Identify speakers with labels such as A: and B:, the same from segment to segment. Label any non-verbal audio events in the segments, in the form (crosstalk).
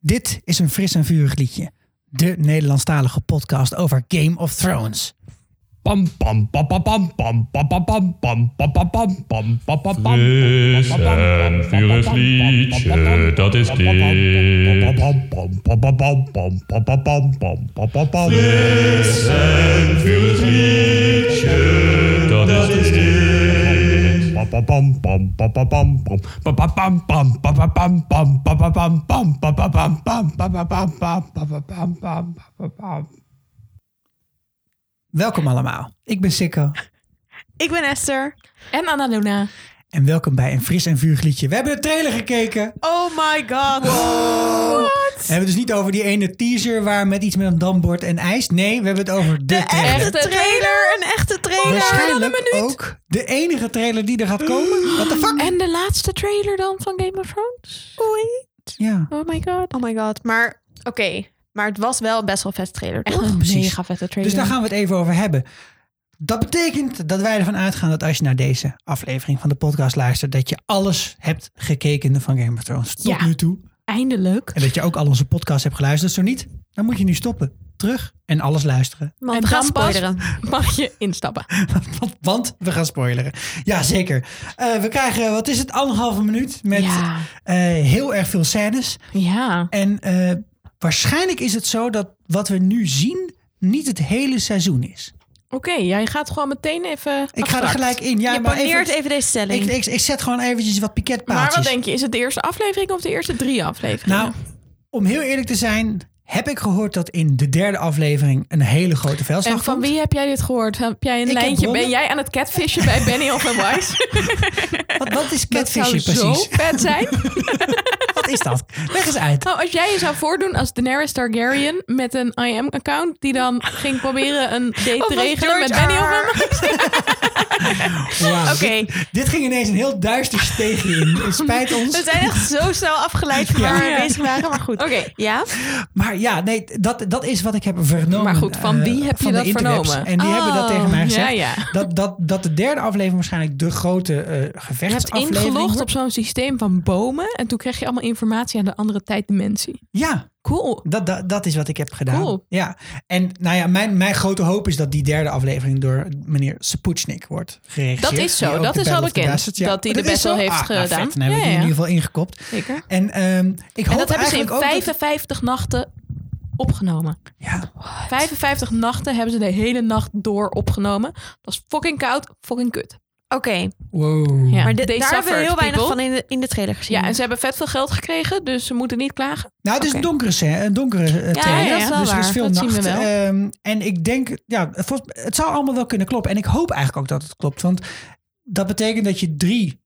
A: Dit is een fris en vurig liedje. De Nederlandstalige podcast over Game of Thrones.
B: Pam pam pam pam pam pam pam pam pam pam pam pam pam pam pam pam pam
C: Fris en vurig liedje, dat is dit. Fris en vurig liedje, dat is dit.
A: Welkom allemaal. Ik ben Sikko
D: Ik ben Esther.
E: En Anna Luna.
A: en welkom bij een fris en vurig liedje. We hebben de trailer gekeken. En
D: Oh my god.
A: we hebben het dus niet over die ene teaser waar met iets met een dambord en ijs. Nee, we hebben het over de, trailer.
E: echte
D: Een trailer, een echte trailer.
A: Waarschijnlijk ook de enige trailer die er gaat komen. What the fuck?
E: En de laatste trailer dan van Game of Thrones?
D: Oei.
A: Ja.
E: Oh my god.
D: Oh my god. Maar oké. Maar het was wel best wel vet trailer.
E: Echt
D: toch?
E: een
A: precies.
E: mega vette trailer.
A: Dus daar gaan we het even over hebben. Dat betekent dat wij ervan uitgaan dat als je naar deze aflevering van de podcast luistert, dat je alles hebt gekeken van Game of Thrones tot
E: Ja.
A: nu toe.
E: Eindelijk.
A: En dat je ook al onze podcast hebt geluisterd. Zo niet, dan moet je nu stoppen. Terug en alles luisteren.
D: Man,
E: en
D: we gaan
E: dan pas
D: spoileren.
E: mag je instappen.
A: Want, want we gaan spoileren. Ja, zeker. Eh, we krijgen, wat is het, anderhalve minuut met
E: Ja.
A: eh, heel erg veel scènes.
E: Ja.
A: En eh, waarschijnlijk is het zo dat wat we nu zien niet het hele seizoen is.
E: Oké, jij gaat gewoon meteen even
A: Ik ga er gelijk in. Ja,
D: Je
A: maar
D: paneert
A: even,
D: even deze stelling.
A: ik, ik, ik zet gewoon eventjes wat piketpaaltjes.
E: Maar wat denk je? Is het de eerste aflevering of de eerste drie afleveringen?
A: Nou, om heel eerlijk te zijn, heb ik gehoord dat in de derde aflevering een hele grote veldslag
E: en van
A: komt.
E: wie heb jij dit gehoord? Heb jij een
A: heb
E: lijntje?
A: bronnen.
E: Ben jij aan het catfishen bij Benny of Wise?
A: (laughs) Wat, wat is
E: (laughs) Dat zou
A: catfishing precies?
E: zo vet zijn.
A: Wat is
E: (laughs)
A: dat? Leg eens uit.
E: Nou, als jij je zou voordoen als Daenerys Targaryen met een IM-account... die dan ging proberen een date te
D: als
E: regelen met
D: George
E: Benny
D: R.
E: of
A: Wauw,
D: Oké.
A: dit, dit ging ineens een heel duister steegje in. Het spijt
D: We
E: (laughs)
A: ons.
D: zijn echt zo snel afgeleid van waar
E: Ja.
D: we bezig waren. Maar goed.
E: Oké,
D: Ja?
A: Maar ja, nee, dat, dat is wat ik heb vernomen.
E: Maar goed, van
A: eh,
E: wie heb je
A: van de
E: dat
A: interwebs.
E: vernomen?
A: En die hebben dat
E: Oh,
A: tegen mij gezegd.
E: ja, ja.
A: Dat, dat, dat de derde aflevering waarschijnlijk de grote eh
E: je hebt
A: gevechtsaflevering
E: ingelogd op
A: wordt.
E: zo'n systeem van bomen... en toen kreeg je allemaal informatie aan de andere tijddimensie.
A: Ja,
E: Cool.
A: dat, dat, dat is wat ik heb gedaan.
E: Cool.
A: Ja. En nou ja, mijn, mijn grote hoop is dat die derde aflevering door meneer Sapuchnik wordt geregisseerd.
E: Dat is zo,
A: Die ook
E: dat
A: de
E: is
A: Battle
E: al
A: of the
E: bekend,
A: Bastards- ja,
E: dat hij de
A: is
E: best wel
A: zo.
E: heeft
A: Ah, nou,
E: gedaan.
A: vet, dan hebben we
E: Ja,
A: die in
E: ja.
A: ieder geval ingekopt.
E: Zeker.
A: En ehm, ik hoop
E: En dat hebben ze in
A: eigenlijk ook dat-
E: 55 nachten opgenomen.
A: Ja,
E: 55 nachten hebben ze de hele nacht door opgenomen. Dat was fucking koud, fucking kut.
D: Oké.
A: wow.
E: Ja.
D: Maar dit-
E: They
D: daar hebben we
E: suffered,
D: heel weinig
E: people.
D: van in de, in de trailer gezien.
E: Ja, en ze hebben vet veel geld gekregen, dus ze moeten niet klagen.
A: Nou, het is een donkere, scè- een donkere eh, trailer.
E: ja, dat is
D: wel
A: dus er is
D: waar.
A: veel
E: Dat zien
A: nacht.
E: we wel.
A: Ehm, en ik denk, ja, volgens- het zou allemaal wel kunnen kloppen. En ik hoop eigenlijk ook dat het klopt. Want dat betekent dat je drie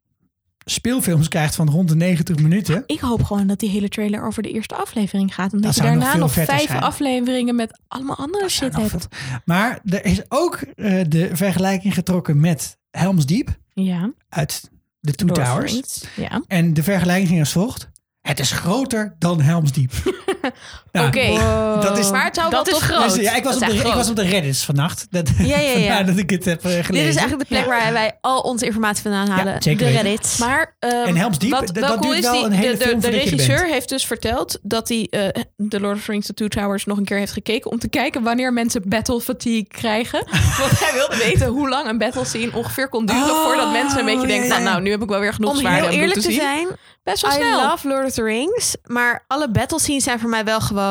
A: speelfilms krijgt van rond de 90 minuten.
E: Ik hoop gewoon dat die hele trailer over de eerste aflevering gaat. Omdat
A: Dat
E: je
A: zou nog
E: daarna
A: veel
E: nog
A: vetter
E: vijf
A: zijn.
E: afleveringen met allemaal andere shit
A: Nou,
E: hebt.
A: vet. Maar er is ook eh, de vergelijking getrokken met Helms Deep
E: Ja.
A: uit The Two
E: Lord of the
A: Towers.
E: Rings. Ja.
A: En de vergelijking ging als volgt. Het is groter dan Helms
E: (laughs)
A: Deep. Nou,
E: Oké.
A: dat is-
E: Maar het zou
D: Dat
E: wel
D: is
E: toch
D: groot.
A: Dus ja, ik, was
E: Dat
A: op
E: is
A: de,
E: echt
A: ik
E: groot.
A: was op de Reddits vannacht. Dat,
D: ja,
A: (laughs)
D: ja.
A: vandaar dat ik het heb eh, gelezen.
D: Dit is eigenlijk de plek waar wij al onze informatie vandaan halen.
A: zeker
D: de
A: weten.
D: Reddit.
E: Maar ehm,
A: En Helm's Deep,
E: wat
A: dat-
E: wel
A: dat
E: cool
A: duurt
E: is,
A: wel
E: die-
A: een hele
E: de,
A: film
E: de, de
A: voordat je er
E: regisseur
A: bent.
E: heeft dus verteld dat hij eh, de Lord of the Rings The Two Towers nog een keer heeft gekeken om te kijken wanneer mensen battle fatigue krijgen.
A: (laughs)
E: Want hij wilde weten hoe lang een battle scene ongeveer kon duren
A: Oh,
E: voordat mensen een beetje
A: ja,
E: denken,
A: ja.
E: nou, nou, nu heb ik wel weer genoeg
D: Om
E: zwaarden
D: heel
E: om
D: eerlijk
E: te,
D: te
E: zien.
D: zijn,
E: Best wel
D: I
E: snel.
D: love Lord of the Rings, maar alle battle scenes zijn voor mij wel gewoon...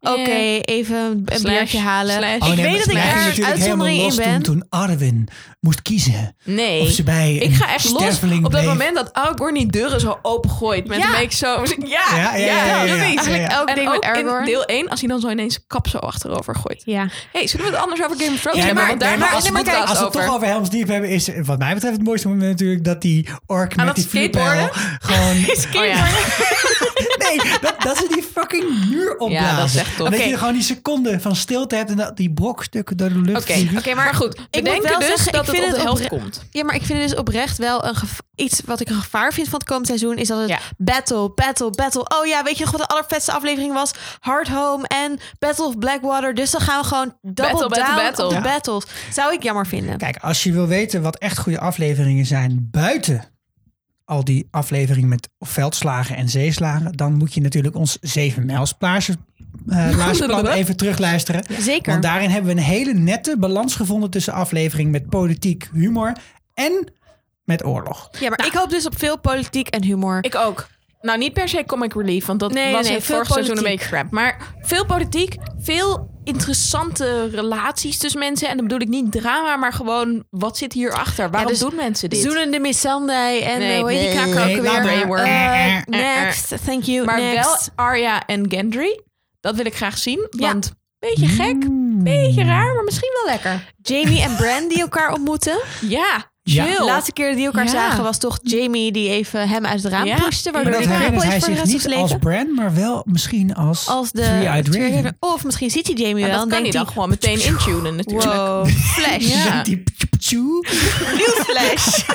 D: Oké,
E: Yeah.
D: even een
E: Slash,
D: biertje halen.
E: slash.
D: Ik weet dat ik
A: Oh, maar hij ging
D: daar een
A: natuurlijk helemaal
D: uitzondering in
A: los Toen,
D: ben.
A: toen Arwen moest kiezen
E: Nee.
A: of ze bij
E: Ik
A: een
E: ga echt los op
A: sterveling
E: dat
A: bleef.
E: moment dat Aragorn die deuren zo opengooit met
D: Ja.
E: een beetje zo. (laughs) Ja,
A: Ja,
E: ja,
A: ja, ja, ja, ja.
E: precies.
A: Eigenlijk
D: elk
E: en
D: ding
E: ook
D: met Aragorn.
E: in deel 1, als hij dan zo ineens zijn kap zo achterover gooit.
D: Ja.
E: hey, zullen we het anders over Game of Thrones
A: Ja,
E: hebben? Want daar
A: nee, maar
E: gaat
A: als,
E: de
A: we-
E: podcast
A: als we het
E: over. (laughs)
A: toch over Helms Diep hebben, is eh, wat mij betreft het mooiste moment natuurlijk dat die ork met
E: dat
A: die vuurpijl
E: skateboarden? (laughs)
A: gewoon...
E: Oh ja.
A: nee, dat, dat ze die fucking muur opblazen.
E: dat is echt tof.
A: En dat
E: Oké.
A: je er gewoon die seconde van stilte hebt en dat die brokstukken door de lucht
E: Oké,
A: vliegen.
E: oké, maar, goed. We
D: moet
E: denken
D: wel
E: dus
D: zeggen,
E: dat
D: ik
E: het
D: vind
E: op de
D: het
E: helft
D: opre-
E: komt.
D: Ja, maar ik vind het dus oprecht wel een gev- iets wat ik een gevaar vind van het komend seizoen. Is dat het
E: Ja.
D: battle, battle, battle. Oh ja, weet je nog wat de allervetste aflevering was? Hard Home en Battle of Blackwater. Dus dan gaan we gewoon double
E: Battle, battle,
D: down
E: battle.
D: op de
E: Ja.
D: battles. Zou ik jammer vinden.
A: Kijk, als je wil weten wat echt goede afleveringen zijn buiten al die afleveringen met veldslagen en zeeslagen, dan moet je natuurlijk ons zeven mijls plaatje
E: (laughs)
A: even terugluisteren.
D: Zeker.
A: Want daarin hebben we een hele nette balans gevonden tussen aflevering met politiek humor en met oorlog.
D: ja, maar ik hoop dus op veel politiek en humor.
E: Ik ook. Nou, niet per se comic relief, want dat
D: Nee, nee,
E: was
D: nee,
E: het
D: veel
E: vorig seizoen een
D: politiek.
E: beetje crap. Maar veel politiek, veel interessante relaties tussen mensen. En dan bedoel ik niet drama, maar gewoon wat zit hierachter? Waarom
D: dus
E: doen mensen dit?
D: Zoenende Missandei en
E: Nee,
D: eh, hoe heet die
E: nee,
D: knakker
A: nee,
D: ook weer?
A: laat maar.
D: Eh,
A: Eh, eh,
D: next, thank you,
E: maar
D: next.
E: wel Arya en Gendry. Dat wil ik graag zien,
D: Ja.
E: want beetje gek,
A: Hmm.
E: beetje raar, maar misschien wel lekker.
D: Jamie en Bran die elkaar ontmoeten.
E: (laughs) Ja,
A: Ja.
E: chill.
D: De laatste keer die elkaar
E: Ja.
D: zagen was toch Jamie die even hem uit het raam
E: Ja.
D: pushte.
A: Maar
D: Waardoor
A: dat
D: die
A: herinnert
D: cripple
A: hij dus
D: is voor de
A: zich
D: rest van
A: niet
D: zijn
A: als
D: leven.
A: Bran, maar wel misschien als,
D: Als de
A: Three-Eyed
D: Three-Eyed
A: Raven.
D: Of misschien ziet hij Jamie
E: Maar
D: wel.
E: dat
D: en
E: kan hij
D: denkt
E: dan gewoon meteen intunen natuurlijk. (laughs)
D: Wow, flash.
A: (laughs)
E: Ja.
A: Die pjoepjoe.
D: (laughs)
E: (laughs)
D: Nieuw flash.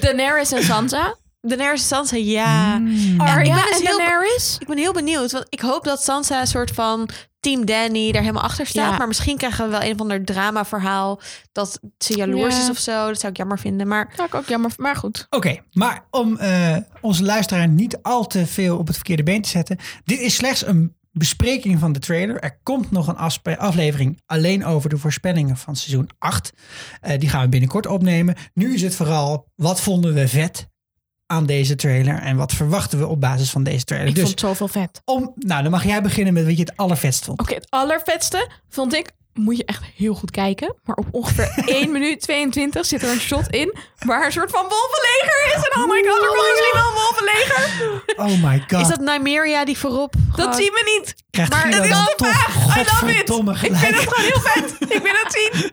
E: Daenerys en Sansa.
D: Daenerys en Sansa, ja.
A: Mm.
E: Arya
D: ben dus
E: en
D: heel-
E: Daenerys.
D: Ik ben heel benieuwd, want ik hoop dat Sansa een soort van team Danny daar helemaal achter staat.
E: Ja.
D: Maar misschien krijgen we wel een of ander drama verhaal dat ze jaloers
E: Ja. Oh.
D: is of zo. Dat zou ik jammer vinden, maar
E: Ja, ik ook jammer, maar goed.
A: Oké, maar om eh, onze luisteraar niet al te veel op het verkeerde been te zetten. Dit is slechts een bespreking van de trailer. Er komt nog een afspe- aflevering alleen over de voorspellingen van seizoen 8. Eh, die gaan we binnenkort opnemen. Nu is het vooral, wat vonden we vet aan deze trailer? En wat verwachten we op basis van deze trailer?
E: Ik
A: dus
E: vond het zoveel vet.
A: om, nou, dan mag jij beginnen met wat je het allervetst vond.
E: Oké, het allervetste vond ik, moet je echt heel goed kijken, maar op (laughs) ongeveer 1 minuut 22 zit er een shot in waar een soort van wolvenleger is. En oh my god, er komt misschien wel een wolvenleger.
A: Oh my god.
D: is dat Nymeria die voorop?
E: Dat
D: gewoon-
E: zien we niet.
A: Krijgt
E: maar
A: Guido
E: dat is
A: dan
E: de
A: toch
E: vraag. I love it.
A: godverdomme
E: Ik
A: gelijk.
E: vind het gewoon heel vet. Ik wil het (laughs) zien.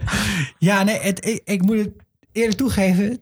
A: Ja, nee, het, ik, ik moet het eerlijk toegeven.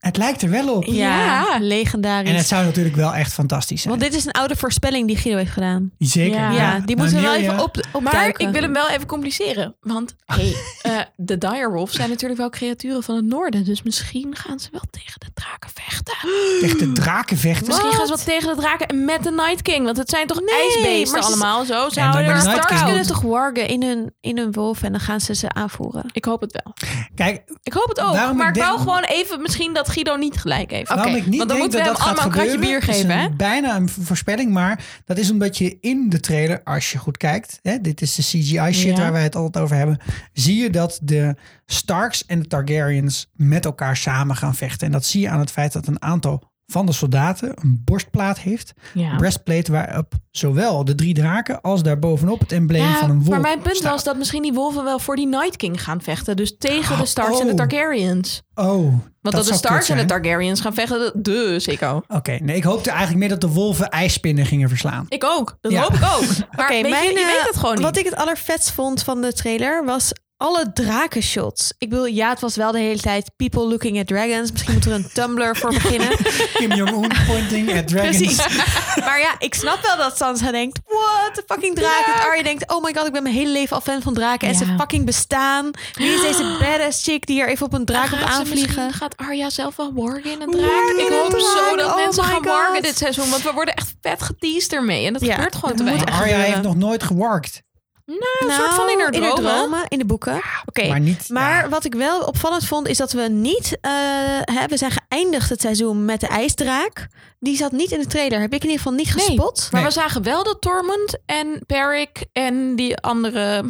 A: Het lijkt er wel op.
D: Ja,
E: Ja.
D: legendarisch.
A: En het zou natuurlijk wel echt fantastisch zijn.
D: Want dit is een oude voorspelling die Guido heeft gedaan.
A: Zeker.
E: Ja.
D: Ja, die moeten we wel
A: Nymeria.
D: even op,
E: Ah. Maar
D: opduiken.
E: ik wil hem wel even compliceren. Want hey, eh, de direwolves zijn natuurlijk wel creaturen van het noorden. Dus misschien gaan ze wel tegen de draken vechten. (gasps)
A: Tegen de draken vechten.
E: Misschien
D: Wat?
E: gaan ze wel tegen de draken en met de Night King. Want het zijn toch ijsbeesten
D: maar ze-
E: allemaal. Zo zouden
A: maar
E: er
A: de Night
E: Stark
A: King-
D: Ze
E: kunnen
D: kunnen toch wargen in hun, in hun wolf en dan gaan ze ze aanvoeren.
E: Ik hoop het wel.
A: Kijk,
E: Ik hoop het ook.
A: Waarom
E: maar
A: ik
E: ik wou
A: denk-
E: gewoon even misschien dat Guido niet gelijk heeft.
A: waarom ik niet
E: Want dan
A: denk
E: moeten we
A: dat
E: hem
A: dat gaat
E: allemaal een kratje
A: gebeuren,
E: bier
A: is
E: geven. Hè?
A: een- bijna een voorspelling, maar dat is omdat je in de trailer, als je goed kijkt, hè, dit is de CGI shit
E: Ja.
A: waar wij het altijd over hebben, zie je dat de Starks en de Targaryens met elkaar samen gaan vechten. En dat zie je aan het feit dat een aantal van de soldaten een borstplaat heeft,
E: Ja.
A: breastplate waarop zowel de drie draken als daarbovenop het embleem
E: Ja,
A: van een wolf
E: maar mijn punt
A: staat.
E: was dat misschien die wolven wel voor die Night King gaan vechten. Dus tegen de Starks en de
A: Oh.
E: Targaryens.
A: Oh,
E: Want dat,
A: zou
E: de Starks
A: kut
E: en de
A: zijn.
E: Targaryens gaan vechten, dus dat- de Sikko.
A: Oké, nee, ik hoopte eigenlijk meer dat de wolven ijsspinnen gingen verslaan.
E: Ik ook. Dat
A: Ja.
E: hoop ik ook. Maar
D: Oké,
E: weet je,
D: mijn,
E: je
D: eh,
E: weet het gewoon niet.
D: Wat ik het allervetst vond van de trailer was alle drakenshots. Ik bedoel, ja, het was wel de hele tijd people looking at dragons. Misschien moet er een Tumblr voor
E: (laughs)
D: beginnen.
A: (laughs) Kim Jong-un pointing at dragons.
D: Precies. maar ja, ik snap wel dat Sansa denkt, what the fucking draak. En Arya denkt, oh my god, ik ben mijn hele leven al fan van draken. En
E: Ja.
D: ze fucking bestaan. Wie is
E: (gasps)
D: deze badass chick die hier even op een draak op
E: Gaat ze
D: aanvliegen?
E: misschien- Gaat Arya zelf wel wargen in een
D: Wargen
E: draak? Ik
D: in
E: hoop
D: een
E: zo
D: draak,
E: dat
D: oh
E: mensen
D: my
E: gaan
D: God.
E: wargen dit seizoen. Want we worden echt vet geteased ermee. En dat
D: Ja,
E: gebeurt gewoon
D: dat moet
E: te weinig. Nou,
D: echt
A: Arya
D: gebeuren.
A: heeft nog nooit gewarkt.
E: een soort van in haar
D: Nou, In,
E: dromen.
D: in de boeken. Oké.
A: maar niet-
D: maar
A: ja.
D: wat ik wel opvallend vond, is dat we niet... eh, hè, we zijn geëindigd het seizoen met de ijsdraak. Die zat niet in de trailer. Heb ik in ieder geval niet
E: Nee,
D: gespot.
E: Maar
A: Nee.
E: we zagen wel dat Tormund en Peric en die andere...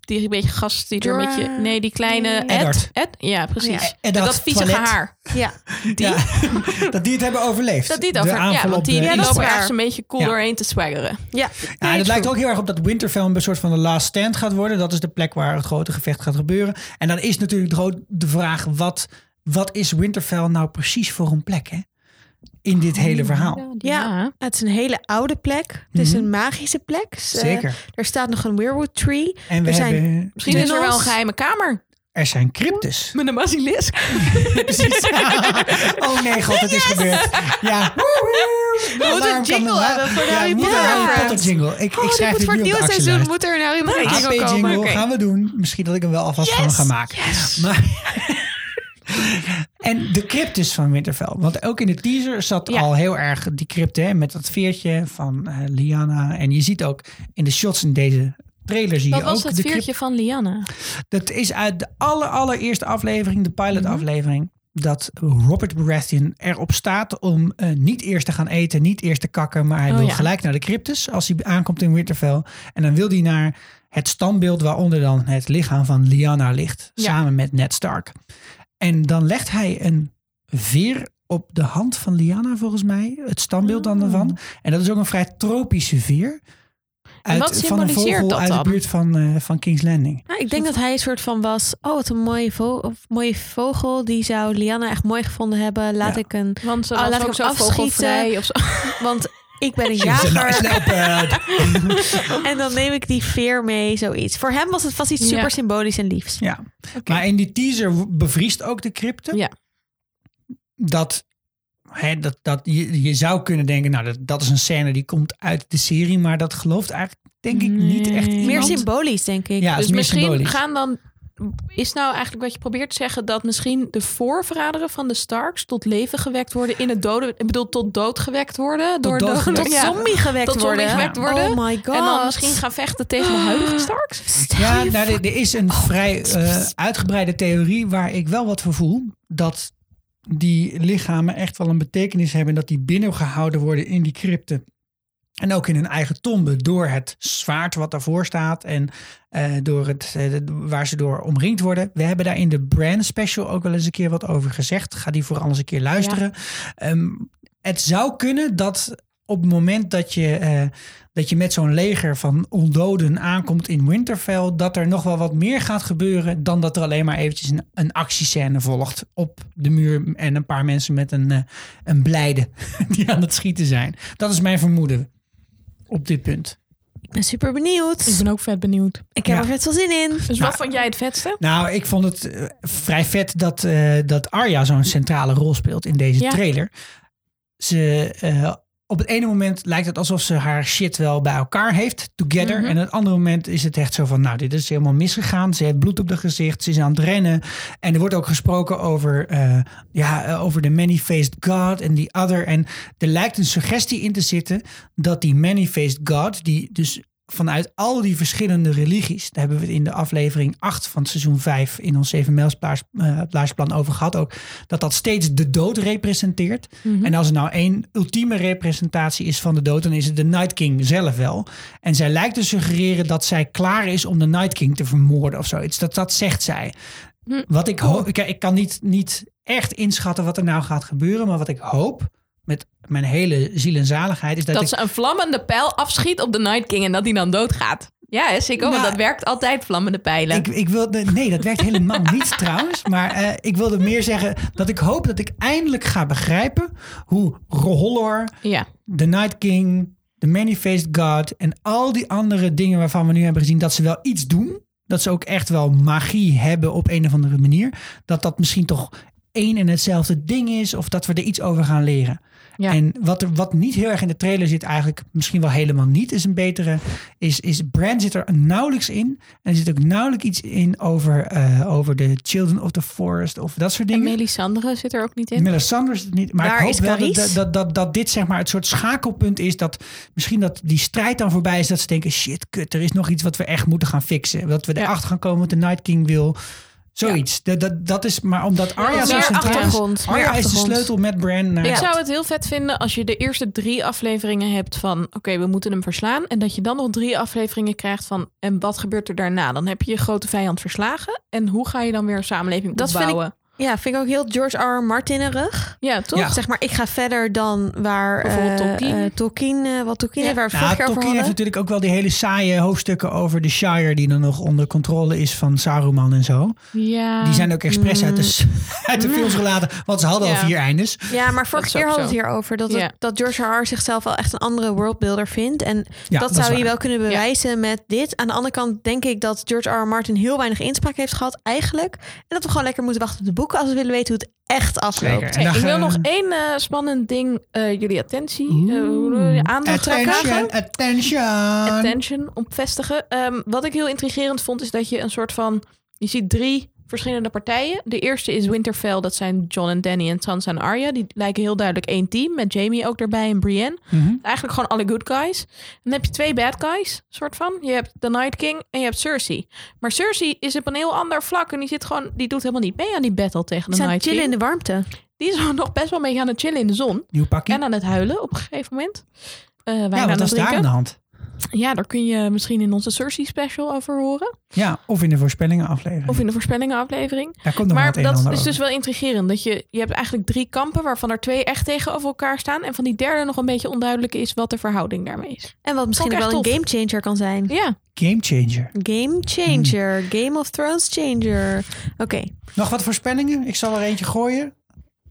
E: Die een beetje gast die er
D: Jorah.
E: een beetje... Nee, die kleine Ed.
A: Eddard.
E: Ed? Ja, precies.
D: Oh ja.
E: Met
A: Eddard,
E: dat viezige
A: toilet.
E: haar.
D: Ja.
A: Ja, (laughs) dat die het hebben overleefd.
E: Dat die
A: De
E: dat over. Ja,
A: aanval op
E: want die,
A: de
E: die
D: dat is
A: Eastwick.
E: lopen
D: waar.
E: ergens een beetje cool
A: Ja.
E: doorheen te swaggeren.
D: ja.
A: Ja, en het lijkt er ook heel erg op dat Winterfell een soort van de last stand gaat worden. Dat is de plek waar het grote gevecht gaat gebeuren. En dan is natuurlijk de, gro- de vraag, wat, wat is Winterfell nou precies voor een plek hè? in dit hele verhaal?
D: Ja. Het is een hele oude plek. Het is een magische plek. Dus, eh,
A: Mhm. Zeker.
D: er staat nog een weirwood tree.
A: En we
D: er zijn-
A: hebben,
E: Misschien is er wel een
D: Tunnels.
E: geheime kamer.
A: er zijn cryptes.
E: Met een (laughs) basilisk.
A: Precies. oh nee, god, het is gebeurd. Ja. We
D: moeten een jingle hebben voor de Harry Potter reference.
A: jingle. Ik, ik schrijf dit
D: voor het
A: nu op
D: nieuwe
A: de
D: seizoen
A: actielijst.
D: moet er naar iemand
A: AP
D: jingle
A: jingle
D: komen. Oké.
A: gaan we doen. Misschien dat ik hem wel alvast van hem ga maken. Maar, en de cryptes van Winterfell. Want ook in de teaser zat
E: Ja.
A: al heel erg die crypte hè, met dat veertje van eh, Lyanna. En je ziet ook in de shots in deze trailer zie
E: Wat
A: je
E: was
A: ook
E: dat
A: de crypt-
E: veertje van Lianne? Mhm.
A: Dat is uit de aller, allereerste aflevering, de pilot aflevering. dat Robert Baratheon erop staat om eh, niet eerst te gaan eten, niet eerst te kakken, maar hij
E: Oh,
A: wil
E: ja.
A: gelijk naar de cryptus als hij aankomt in Winterfell. En dan wil hij naar het standbeeld waaronder dan het lichaam van Lyanna ligt,
E: Ja.
A: samen met Ned Stark. En dan legt hij een veer op de hand van Lyanna volgens mij, het standbeeld
E: Oh.
A: dan ervan. En dat is ook een vrij tropische veer. Uit,
E: wat
A: van een
E: symboliseert
A: vogel
E: dat
A: uit de
E: dan?
A: buurt van, eh, van King's Landing.
D: Nou, ik denk dat hij een soort van was... Oh, wat een mooie, vo- of mooie vogel. Die zou Liana echt mooi gevonden hebben. Laat
A: Ja.
D: ik een...
E: Want ze
D: Oh,
E: was
D: laat ik
E: ook
D: hem
E: zo
D: afschieten.
E: vogelvrij of zo.
D: Want ik ben
A: (laughs)
D: een
A: Ze- nou,
D: jager.
E: (laughs)
A: leopard.
D: En dan neem ik die veer mee, zoiets. Voor hem was het vast iets
E: Ja.
D: super symbolisch en liefs.
A: Ja, maar in die teaser w- bevriest ook de crypte.
E: Ja.
A: Dat, hè, dat, dat je, je zou kunnen denken, nou, dat, dat is een scène die komt uit de serie, maar dat gelooft eigenlijk, denk ik, niet echt
E: Nee.
A: iemand.
D: Meer symbolisch, denk ik.
A: Ja, het is
E: dus
A: meer
E: misschien
A: symbolisch.
E: gaan dan. Is nou eigenlijk wat je probeert te zeggen dat misschien de voorverraderen van de Starks tot leven gewekt worden in het doden. Ik bedoel, tot dood gewekt worden door
A: dood
E: de
A: gewekt.
D: Tot
E: ja.
D: zombie gewekt
E: Tot zombie
D: worden.
E: gewekt worden.
D: Oh my god.
E: En dan misschien gaan vechten tegen de huidige Starks.
A: Ja, nou, er, er is een
E: Oh,
A: vrij eh, uitgebreide theorie waar ik wel wat voor voel. Dat die lichamen echt wel een betekenis hebben. Dat die binnengehouden worden in die crypten. En ook in hun eigen tombe door het zwaard wat daarvoor staat. En eh, door het, eh, de- waar ze door omringd worden. We hebben daar in de brand special ook wel eens een keer wat over gezegd. Ga die vooral eens een keer luisteren. Ehm, het zou kunnen dat op het moment dat je, eh, dat je met zo'n leger van ondoden aankomt in Winterfell, dat er nog wel wat meer gaat gebeuren dan dat er alleen maar eventjes een, een actiescène volgt op de muur en een paar mensen met een, eh, een blijde (laughs) die aan het schieten zijn. Dat is mijn vermoeden op dit punt.
D: Ik ben super benieuwd.
E: Ik ben ook vet benieuwd.
D: Ik heb
A: Ja.
D: er vet veel zin in.
E: Dus wat vond jij het vetste?
A: Nou, ik vond het eh, vrij vet dat, eh, dat Arya zo'n centrale rol speelt in deze
E: Ja.
A: trailer. Ze, eh, op het ene moment lijkt het alsof ze haar shit wel bij elkaar heeft, together. En op het andere moment is het echt zo van, nou, dit is helemaal misgegaan. Ze heeft bloed op haar gezicht, ze is aan het rennen. En er wordt ook gesproken over, eh, ja, eh, over de many-faced God en die other. En er lijkt een suggestie in te zitten dat die many-faced God, die dus vanuit al die verschillende religies, daar hebben we het in de aflevering 8 van seizoen 5 in ons 7 Mijlsplan eh, over gehad ook, dat dat steeds de dood representeert. En als er nou één ultieme representatie is van de dood, dan is het de Night King zelf wel. En zij lijkt te suggereren dat zij klaar is om de Night King te vermoorden of zoiets. Dat, dat zegt zij. Wat ik hoop, kijk, ik kan niet, niet echt inschatten wat er nou gaat gebeuren, maar wat ik hoop met mijn hele ziel en zaligheid is dat,
E: Dat
A: ik,
E: ze een vlammende pijl afschiet op de Night King en dat die dan doodgaat. Ja, hè, Sikko, want
A: Nou,
E: dat werkt altijd, vlammende pijlen.
A: Ik, ik wilde, nee, dat werkt helemaal niet trouwens. Maar eh, ik wilde meer zeggen dat ik hoop dat ik eindelijk ga begrijpen hoe Rohollor,
E: ja.
A: de Night King, de Many-Faced God en al die andere dingen waarvan we nu hebben gezien dat ze wel iets doen. Dat ze ook echt wel magie hebben op een of andere manier. Dat dat misschien toch één en hetzelfde ding is of dat we er iets over gaan leren.
E: Ja.
A: En wat, er, wat niet heel erg in de trailer zit, eigenlijk misschien wel helemaal niet, is een betere. Is, is Brand zit er nauwelijks in. En er zit ook nauwelijks iets in over, eh, over de Children of the Forest of dat soort
E: En
A: dingen.
E: Melisandre zit er ook niet in.
A: Melisandre is het niet. Maar
D: Waar
A: ik hoop
D: is
A: wel dat,
D: Carice?
A: dat, dat, dat dit zeg maar het soort schakelpunt is. Dat misschien dat die strijd dan voorbij is. Dat ze denken, shit, kut, er is nog iets wat we echt moeten gaan fixen. Dat we
E: Ja.
A: erachter gaan komen wat de Night King wil. Zoiets. Dat, dat, dat is maar omdat Arya
E: meer
A: zo centraal is.
D: achtergrond, meer
A: Arya is de
D: achtergrond.
A: sleutel met Bran naar...
E: Ik zou het heel vet vinden als je de eerste drie afleveringen hebt van... oké, we moeten hem verslaan. En dat je dan nog drie afleveringen krijgt van... en wat gebeurt er daarna? Dan heb je je grote vijand verslagen. En hoe ga je dan weer een samenleving
D: Dat vind ik-
E: opbouwen?
D: Ja, vind ik ook heel George R. R. Martinerig.
E: Ja, toch?
A: Ja.
D: Zeg maar, ik ga verder dan waar
E: Bijvoorbeeld
D: eh,
E: Tolkien.
D: eh, Tolkien, eh, wat Tolkien
E: Ja.
D: heeft, waar we het
A: Nou,
D: vorig jaar over
A: Tolkien heeft
D: hadden.
A: natuurlijk ook wel die hele saaie hoofdstukken over de Shire... die dan nog onder controle is van Saruman en zo.
E: Ja.
D: Ah.
A: Die zijn ook expres uit de, (laughs) uit de films gelaten. Want ze hadden al
E: Ja.
A: vier eindes.
D: Mm. Ja, maar vorig
E: is ook
D: keer hadden we
E: zo.
D: het hierover. Dat,
E: Ja.
D: het- dat George R. R. zichzelf wel echt een andere worldbuilder vindt. En
A: Ja,
D: dat,
A: dat is
D: zou je
A: waar.
D: wel kunnen bewijzen met dit. Aan de andere kant denk ik dat George R. R. Martin heel weinig inspraak heeft gehad eigenlijk. En dat we gewoon lekker moeten wachten op de boeken als we willen weten hoe het echt afloopt.
A: Zeker.
E: Hey,
A: En dan
E: ik wil
A: gaan-
E: nog één eh, spannend ding eh, jullie attentie, eh, hoe noem je dat? aandacht
A: Attention,
E: trekken.
A: attention.
E: Attention, op vestigen. Ehm, wat ik heel intrigerend vond is dat je een soort van... Je ziet drie verschillende partijen. De eerste is Winterfell. Dat zijn John en Danny en Sansa en Arya. Die lijken heel duidelijk één team. Met Jamie ook erbij en Brienne.
A: Mhm.
E: Eigenlijk gewoon alle good guys. Dan heb je twee bad guys, soort van. Je hebt de Night King en je hebt Cersei. Maar Cersei is op een heel ander vlak. En die, zit gewoon, die doet helemaal niet mee aan die battle tegen
D: Ze
E: de
D: zijn
E: Night
D: chillen in
E: King.
D: de warmte.
E: Die is (laughs) nog best wel een beetje aan het chillen in de zon.
A: Nieuw pakje.
E: En aan het huilen op een gegeven moment. Eh wijn
A: ja,
E: aan
A: wat
E: het
A: was daar aan
E: drinken.
A: de hand?
E: Ja, daar kun je misschien in onze Cersei special over horen.
A: Ja, of in de voorspellingen aflevering.
E: Of in de voorspellingen aflevering.
A: Daar komt nog
E: maar
A: wat een en
E: dat
A: ander
E: is
A: over.
E: dus wel intrigerend. Dat je, je hebt eigenlijk drie kampen waarvan er twee echt tegenover elkaar staan. En van die derde nog een beetje onduidelijk is wat de verhouding daarmee is.
D: En wat misschien
E: Vond ik
D: wel een
E: echt tof.
D: gamechanger kan zijn.
E: Ja,
A: Game changer.
D: Game changer.
A: Hmm.
D: Game of Thrones changer. Oké.
A: Nog wat voorspellingen? Ik zal er eentje gooien.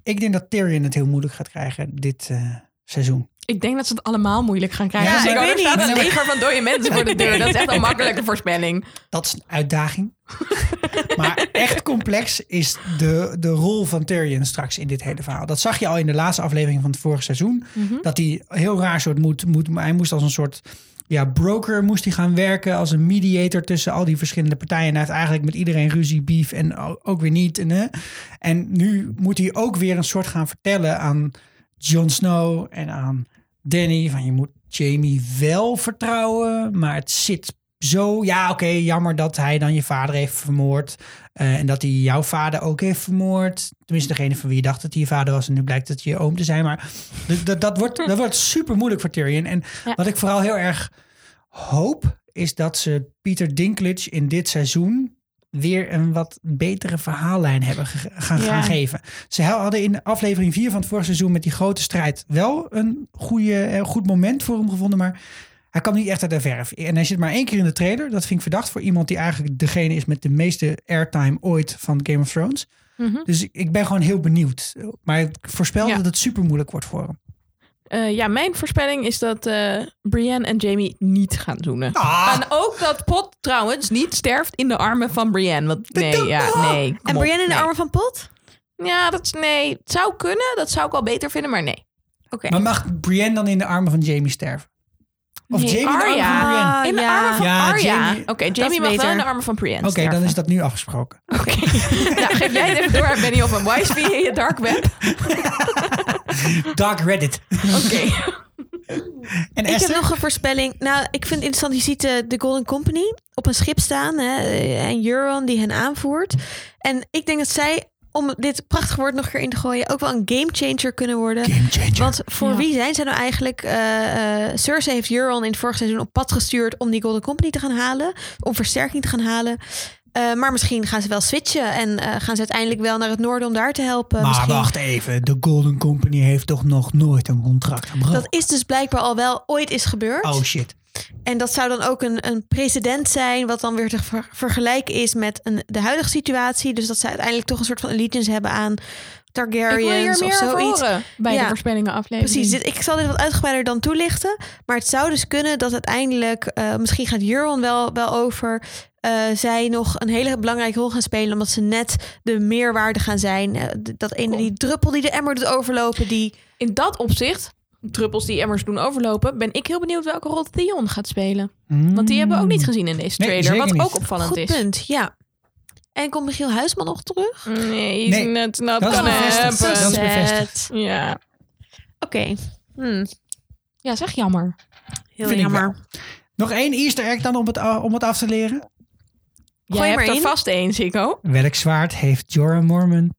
A: Ik denk dat Tyrion het heel moeilijk gaat krijgen dit eh, seizoen.
E: ik denk dat ze het allemaal moeilijk gaan krijgen.
A: Ja,
E: Dus
A: ik
E: denk, oh,
A: weet
E: er staat
A: niet.
E: een leger van dode mensen voor de deur. Dat is (laughs) echt een makkelijke voorspelling.
A: Dat is een uitdaging. (laughs) maar echt complex is de, de rol van Tyrion straks in dit hele verhaal. Dat zag je al in de laatste aflevering van het vorige seizoen. Dat hij heel raar soort moet, moet... Hij moest als een soort ja, broker moest hij gaan werken. Als een mediator tussen al die verschillende partijen. En hij heeft eigenlijk met iedereen ruzie, beef en o- ook weer niet. En, hè. en nu moet hij ook weer een soort gaan vertellen aan Jon Snow en aan Danny. Van je moet Jamie wel vertrouwen, maar het zit zo. Ja, oké, jammer dat hij dan je vader heeft vermoord. eh, en dat hij jouw vader ook heeft vermoord. Tenminste, degene van wie je dacht dat hij je vader was. En nu blijkt dat hij je oom te zijn. Maar d- dat, dat, wordt, dat wordt super moeilijk voor Tyrion. En
E: Ja.
A: wat ik vooral heel erg hoop, is dat ze Peter Dinklage in dit seizoen weer een wat betere verhaallijn hebben ge- gaan, gaan
E: Ja.
A: geven. Ze hadden in aflevering 4 van het vorige seizoen met die grote strijd wel een goede, eh, goed moment voor hem gevonden, maar hij kwam niet echt uit de verf. En hij zit maar één keer in de trailer. Dat vind ik verdacht voor iemand die eigenlijk degene is met de meeste airtime ooit van Game of Thrones.
E: Mhm.
A: Dus ik- ik ben gewoon heel benieuwd. Maar ik voorspel
E: Ja.
A: dat het super moeilijk wordt voor hem.
E: Eh, ja, mijn voorspelling is dat eh, Brienne en Jamie niet gaan zoenen. En ook dat Pot trouwens niet sterft in de armen van Brienne. Want nee, ja, nee. kom
D: En
E: op,
D: Brienne in de
E: nee.
D: armen van Pot?
E: Ja, dat is nee. Het zou kunnen. Dat zou ik wel beter vinden, maar nee. Oké.
A: Maar mag Brienne dan in de armen van Jamie sterven? Of
E: Nee,
A: Jamie in de armen
E: Arya.
A: van Brienne?
E: In de
D: ja.
E: armen van
A: Ja,
E: Arya.
A: Jamie-
E: Oké, Jamie mag wel
D: beter.
E: in de armen van Brienne
A: Oké, dan is dat nu afgesproken. (laughs)
E: Oké. (laughs) nou, geef jij het even door aan Benny of een wise via je dark
A: (laughs)
E: web.
A: Dark Reddit. (laughs)
E: Oké.
A: En
D: Ik heb
A: Esther?
D: nog een voorspelling. Nou, ik vind het interessant. Je ziet eh, de Golden Company op een schip staan. Hè, eh, en Euron die hen aanvoert. En ik denk dat zij, om dit prachtige woord nog een keer in te gooien... ook wel een gamechanger kunnen worden.
A: Game changer.
D: Want voor
E: Ja.
D: wie zijn ze nou eigenlijk? eh, eh, Cersei heeft Euron in het vorige seizoen op pad gestuurd... om die Golden Company te gaan halen. Om versterking te gaan halen. Eh, maar misschien gaan ze wel switchen. En eh, gaan ze uiteindelijk wel naar het noorden om daar te
E: eh,
D: helpen.
A: maar
D: misschien.
A: wacht even, de Golden Company heeft toch nog nooit een contract gebroken?
D: Dat is dus blijkbaar al wel ooit is gebeurd.
A: Oh shit.
D: En dat zou dan ook een, een precedent zijn, wat dan weer te ver- vergelijken is met een, de huidige situatie. Dus dat ze uiteindelijk toch een soort van allegiance hebben aan
E: Ik wil hier
D: Targaryens of
E: meer over
D: zoiets.
E: horen bij
D: Ja.
E: de voorspellingen aflevering.
D: Precies, dit, ik zal dit wat uitgebreider dan toelichten. Maar het zou dus kunnen dat uiteindelijk, eh, misschien gaat Euron wel, wel over, eh, zij nog een hele belangrijke rol gaan spelen. Omdat ze net de meerwaarde gaan zijn. Eh, d- dat ene,
E: Cool.
D: die druppel die de emmer doet overlopen, die
E: In dat opzicht, druppels die emmers doen overlopen, ben ik heel benieuwd welke rol Theon gaat spelen. Want die hebben we ook
A: Hmm.
E: niet gezien in deze
A: Nee,
E: trailer,
A: zeker
E: wat
A: niet.
E: ook opvallend
D: goed
E: is.
D: punt, ja. En komt Michiel Huisman nog terug?
E: Nee,
A: Nee,
E: net not
A: dat is
E: gonna
A: bevestigd.
E: happen.
A: Dat is bevestigd.
D: Zet.
E: Ja.
D: Oké. Hm,
E: ja, zeg jammer.
D: heel
A: Vind ik
D: jammer.
A: Nog één easter egg dan om het, a- om het af te leren.
E: Jij
D: Gooi
E: hebt
D: maar
E: er
D: in.
E: vast één, Sikko.
A: Welk zwaard heeft Jorah Mormon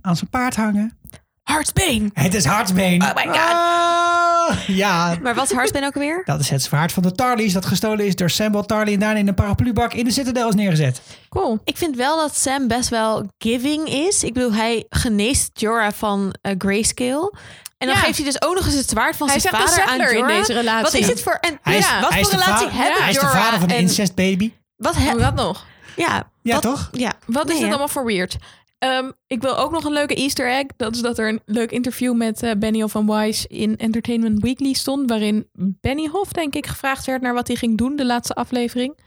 A: aan zijn paard hangen?
E: Hartsbeen.
A: Het is hartsbeen.
E: Oh my god.
A: Ah, ja,
D: Maar wat hard ben ook
A: (laughs)
D: weer?
A: dat is het zwaard van de Tarlys dat gestolen is door Sambal Tarly en daarna in een paraplubak in de citadel is neergezet.
E: Cool.
D: Ik vind wel dat Sam best wel giving is. Ik bedoel, hij geneest Jorah van eh, grayscale. En dan
E: Ja.
D: geeft hij dus ook nog eens het zwaard van
E: Hij is
D: zijn
E: echt een
D: vader aan
E: settler in
D: Jorah.
E: deze relatie.
D: Wat is dit voor... En,
A: Hij is,
D: ja, wat
A: hij is
D: voor
A: de
D: relatie
A: va-
D: hebben
A: Hij is de
D: Jorah
A: vader van de
D: en-
A: incestbaby.
D: Wat
E: Hoe
D: hebben...
E: dat nog?
D: Ja,
A: Ja,
D: wat-
A: toch?
D: Ja. Nee,
E: Wat is dat
D: hè?
E: allemaal voor weird? Ehm, ik wil ook nog een leuke easter egg. Dat is dat er een leuk interview met eh, Benioff van Wise in Entertainment Weekly stond. Waarin Benioff, denk ik, gevraagd werd naar wat hij ging doen de laatste aflevering.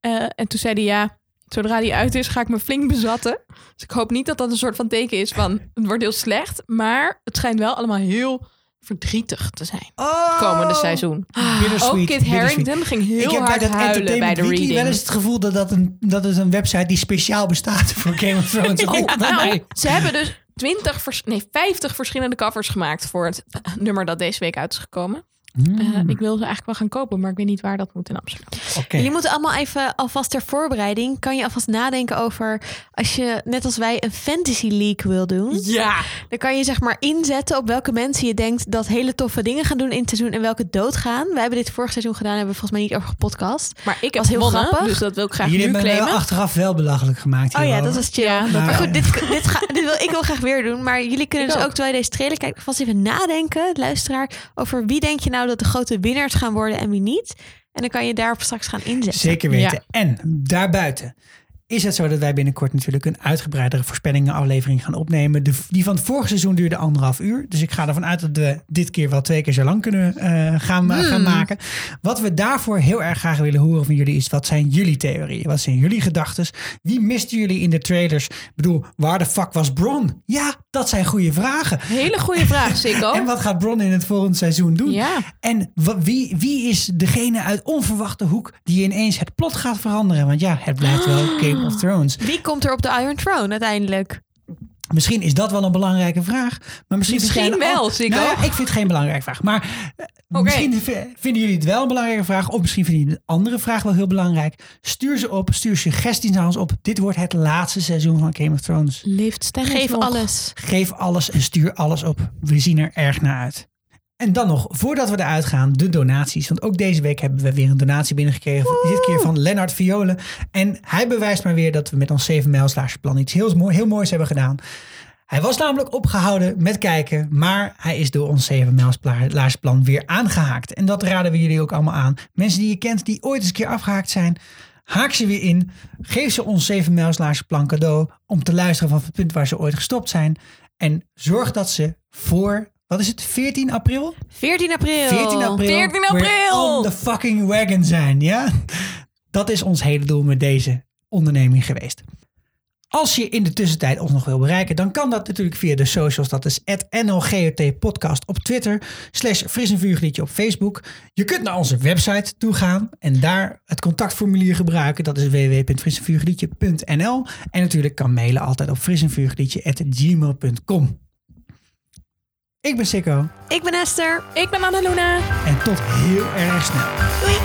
E: Eh, en toen zei hij ja, zodra die uit is ga ik me flink bezatten. Dus ik hoop niet dat dat een soort van teken is van het wordt heel slecht. Maar het schijnt wel allemaal heel verdrietig te zijn.
A: Oh,
E: Komende seizoen.
A: Bittersweet,
E: Ook Kit
A: bittersweet.
E: Harington ging heel
A: ik heb
E: hard
A: bij dat
E: huilen bij
A: Entertainment
E: de
A: Weekly
E: reading.
A: wel eens het gevoel dat dat een, dat is een website die speciaal bestaat voor Game of
E: (laughs)
A: Thrones.
E: Oh,
A: Bij
E: nou,
A: mij.
E: ze hebben dus 20, vers- nee, 50 verschillende covers gemaakt voor het eh, nummer dat deze week uit is gekomen.
A: Mm.
E: Eh, ik wil ze eigenlijk wel gaan kopen, maar ik weet niet waar dat moet in Amsterdam.
A: Oké.
D: Jullie moeten allemaal even alvast ter voorbereiding. Kan je alvast nadenken over als je, net als wij, een fantasy league wil doen.
E: Ja!
D: Dan kan je zeg maar inzetten op welke mensen je denkt dat hele toffe dingen gaan doen in het seizoen en welke doodgaan. Wij hebben dit vorig seizoen gedaan, hebben we volgens mij niet over gepodcast.
E: Maar ik heb
D: Was heel
E: gewonnen,
D: grappig.
E: dus dat wil ik graag
A: Jullie
E: nu
A: hebben me
E: claimen.
A: achteraf wel belachelijk gemaakt.
D: Oh ja,
A: hierover.
D: dat was chill.
E: Ja, dat
D: maar
A: wel.
D: goed, (laughs) dit, dit, ga, dit wil ik wel graag weer doen. Maar jullie kunnen
E: Ik
D: dus ook.
E: ook.
D: terwijl je deze trailer kijkt vast even nadenken, luisteraar, over wie denk je nou dat de grote winnaars gaan worden en wie niet. En dan kan je daarop straks gaan inzetten.
A: Zeker
E: Ja.
A: weten. En daarbuiten is het zo dat wij binnenkort natuurlijk een uitgebreidere voorspellingenaflevering gaan opnemen. De, die van het vorige seizoen duurde anderhalf uur. Dus ik ga ervan uit dat we dit keer wel twee keer zo lang kunnen eh, gaan, ma- gaan maken. Wat we daarvoor heel erg graag willen horen van jullie is wat zijn jullie theorieën? Wat zijn jullie gedachten? Wie misten jullie in de trailers? Ik bedoel, waar de fuck was Bron? Ja, dat zijn goede vragen.
E: Hele goede vraag, Sikko.
A: (laughs) En wat gaat Bron in het volgende seizoen doen?
E: Oh. Ja.
A: En wa- wie, wie is degene uit onverwachte hoek die ineens het plot gaat veranderen? Want ja, het blijft
E: (gasps)
A: wel Game of Thrones.
D: Wie komt er op de Iron Throne uiteindelijk?
A: Misschien is dat wel een belangrijke vraag. Maar misschien
E: Misschien
A: vinden jij-
E: wel,
A: oh,
E: Sikko.
A: nou ja, ik vind het geen belangrijke vraag. Maar eh,
E: Oké.
A: misschien v- vinden jullie het wel een belangrijke vraag. Of misschien vinden jullie een andere vraag wel heel belangrijk. Stuur ze op, stuur suggesties naar ons op. Dit wordt het laatste seizoen van Game of Thrones.
E: Leeft Stennis
D: Geef
E: nog?
D: alles.
A: Geef alles en stuur alles op. We zien er erg naar uit. En dan nog, voordat we eruit gaan, de donaties. Want ook deze week hebben we weer een donatie binnengekregen. Dit keer van Lennart Violen. En hij bewijst maar weer dat we met ons 7 mijlslaagse plan iets heel, mooi- heel moois hebben gedaan. Hij was namelijk opgehouden met kijken, maar hij is door ons 7 mijlslaagse plan weer aangehaakt. En dat raden we jullie ook allemaal aan. Mensen die je kent, die ooit eens een keer afgehaakt zijn, haak ze weer in. Geef ze ons 7 mijlslaagse plan cadeau om te luisteren vanaf het punt waar ze ooit gestopt zijn. En zorg dat ze voor, wat is het, 14 april?
D: 14 april.
A: 14 april.
E: 14
A: We're
E: april.
A: on the fucking wagon zijn, ja? Dat is ons hele doel met deze onderneming geweest. Als je in de tussentijd ons nog wil bereiken, dan kan dat natuurlijk via de socials. Dat is NLGOT podcast op Twitter, slash Fris en Vuurgliedje op Facebook. Je kunt naar onze website toe gaan en daar het contactformulier gebruiken. Dat is www.frisenvuurgliedje.nl. En natuurlijk kan mailen altijd op frisenvuurgliedje.gmail.com. Ik ben Sikko
D: Ik ben Esther.
E: Ik ben Annalena.
A: en tot heel erg snel.
D: Doei.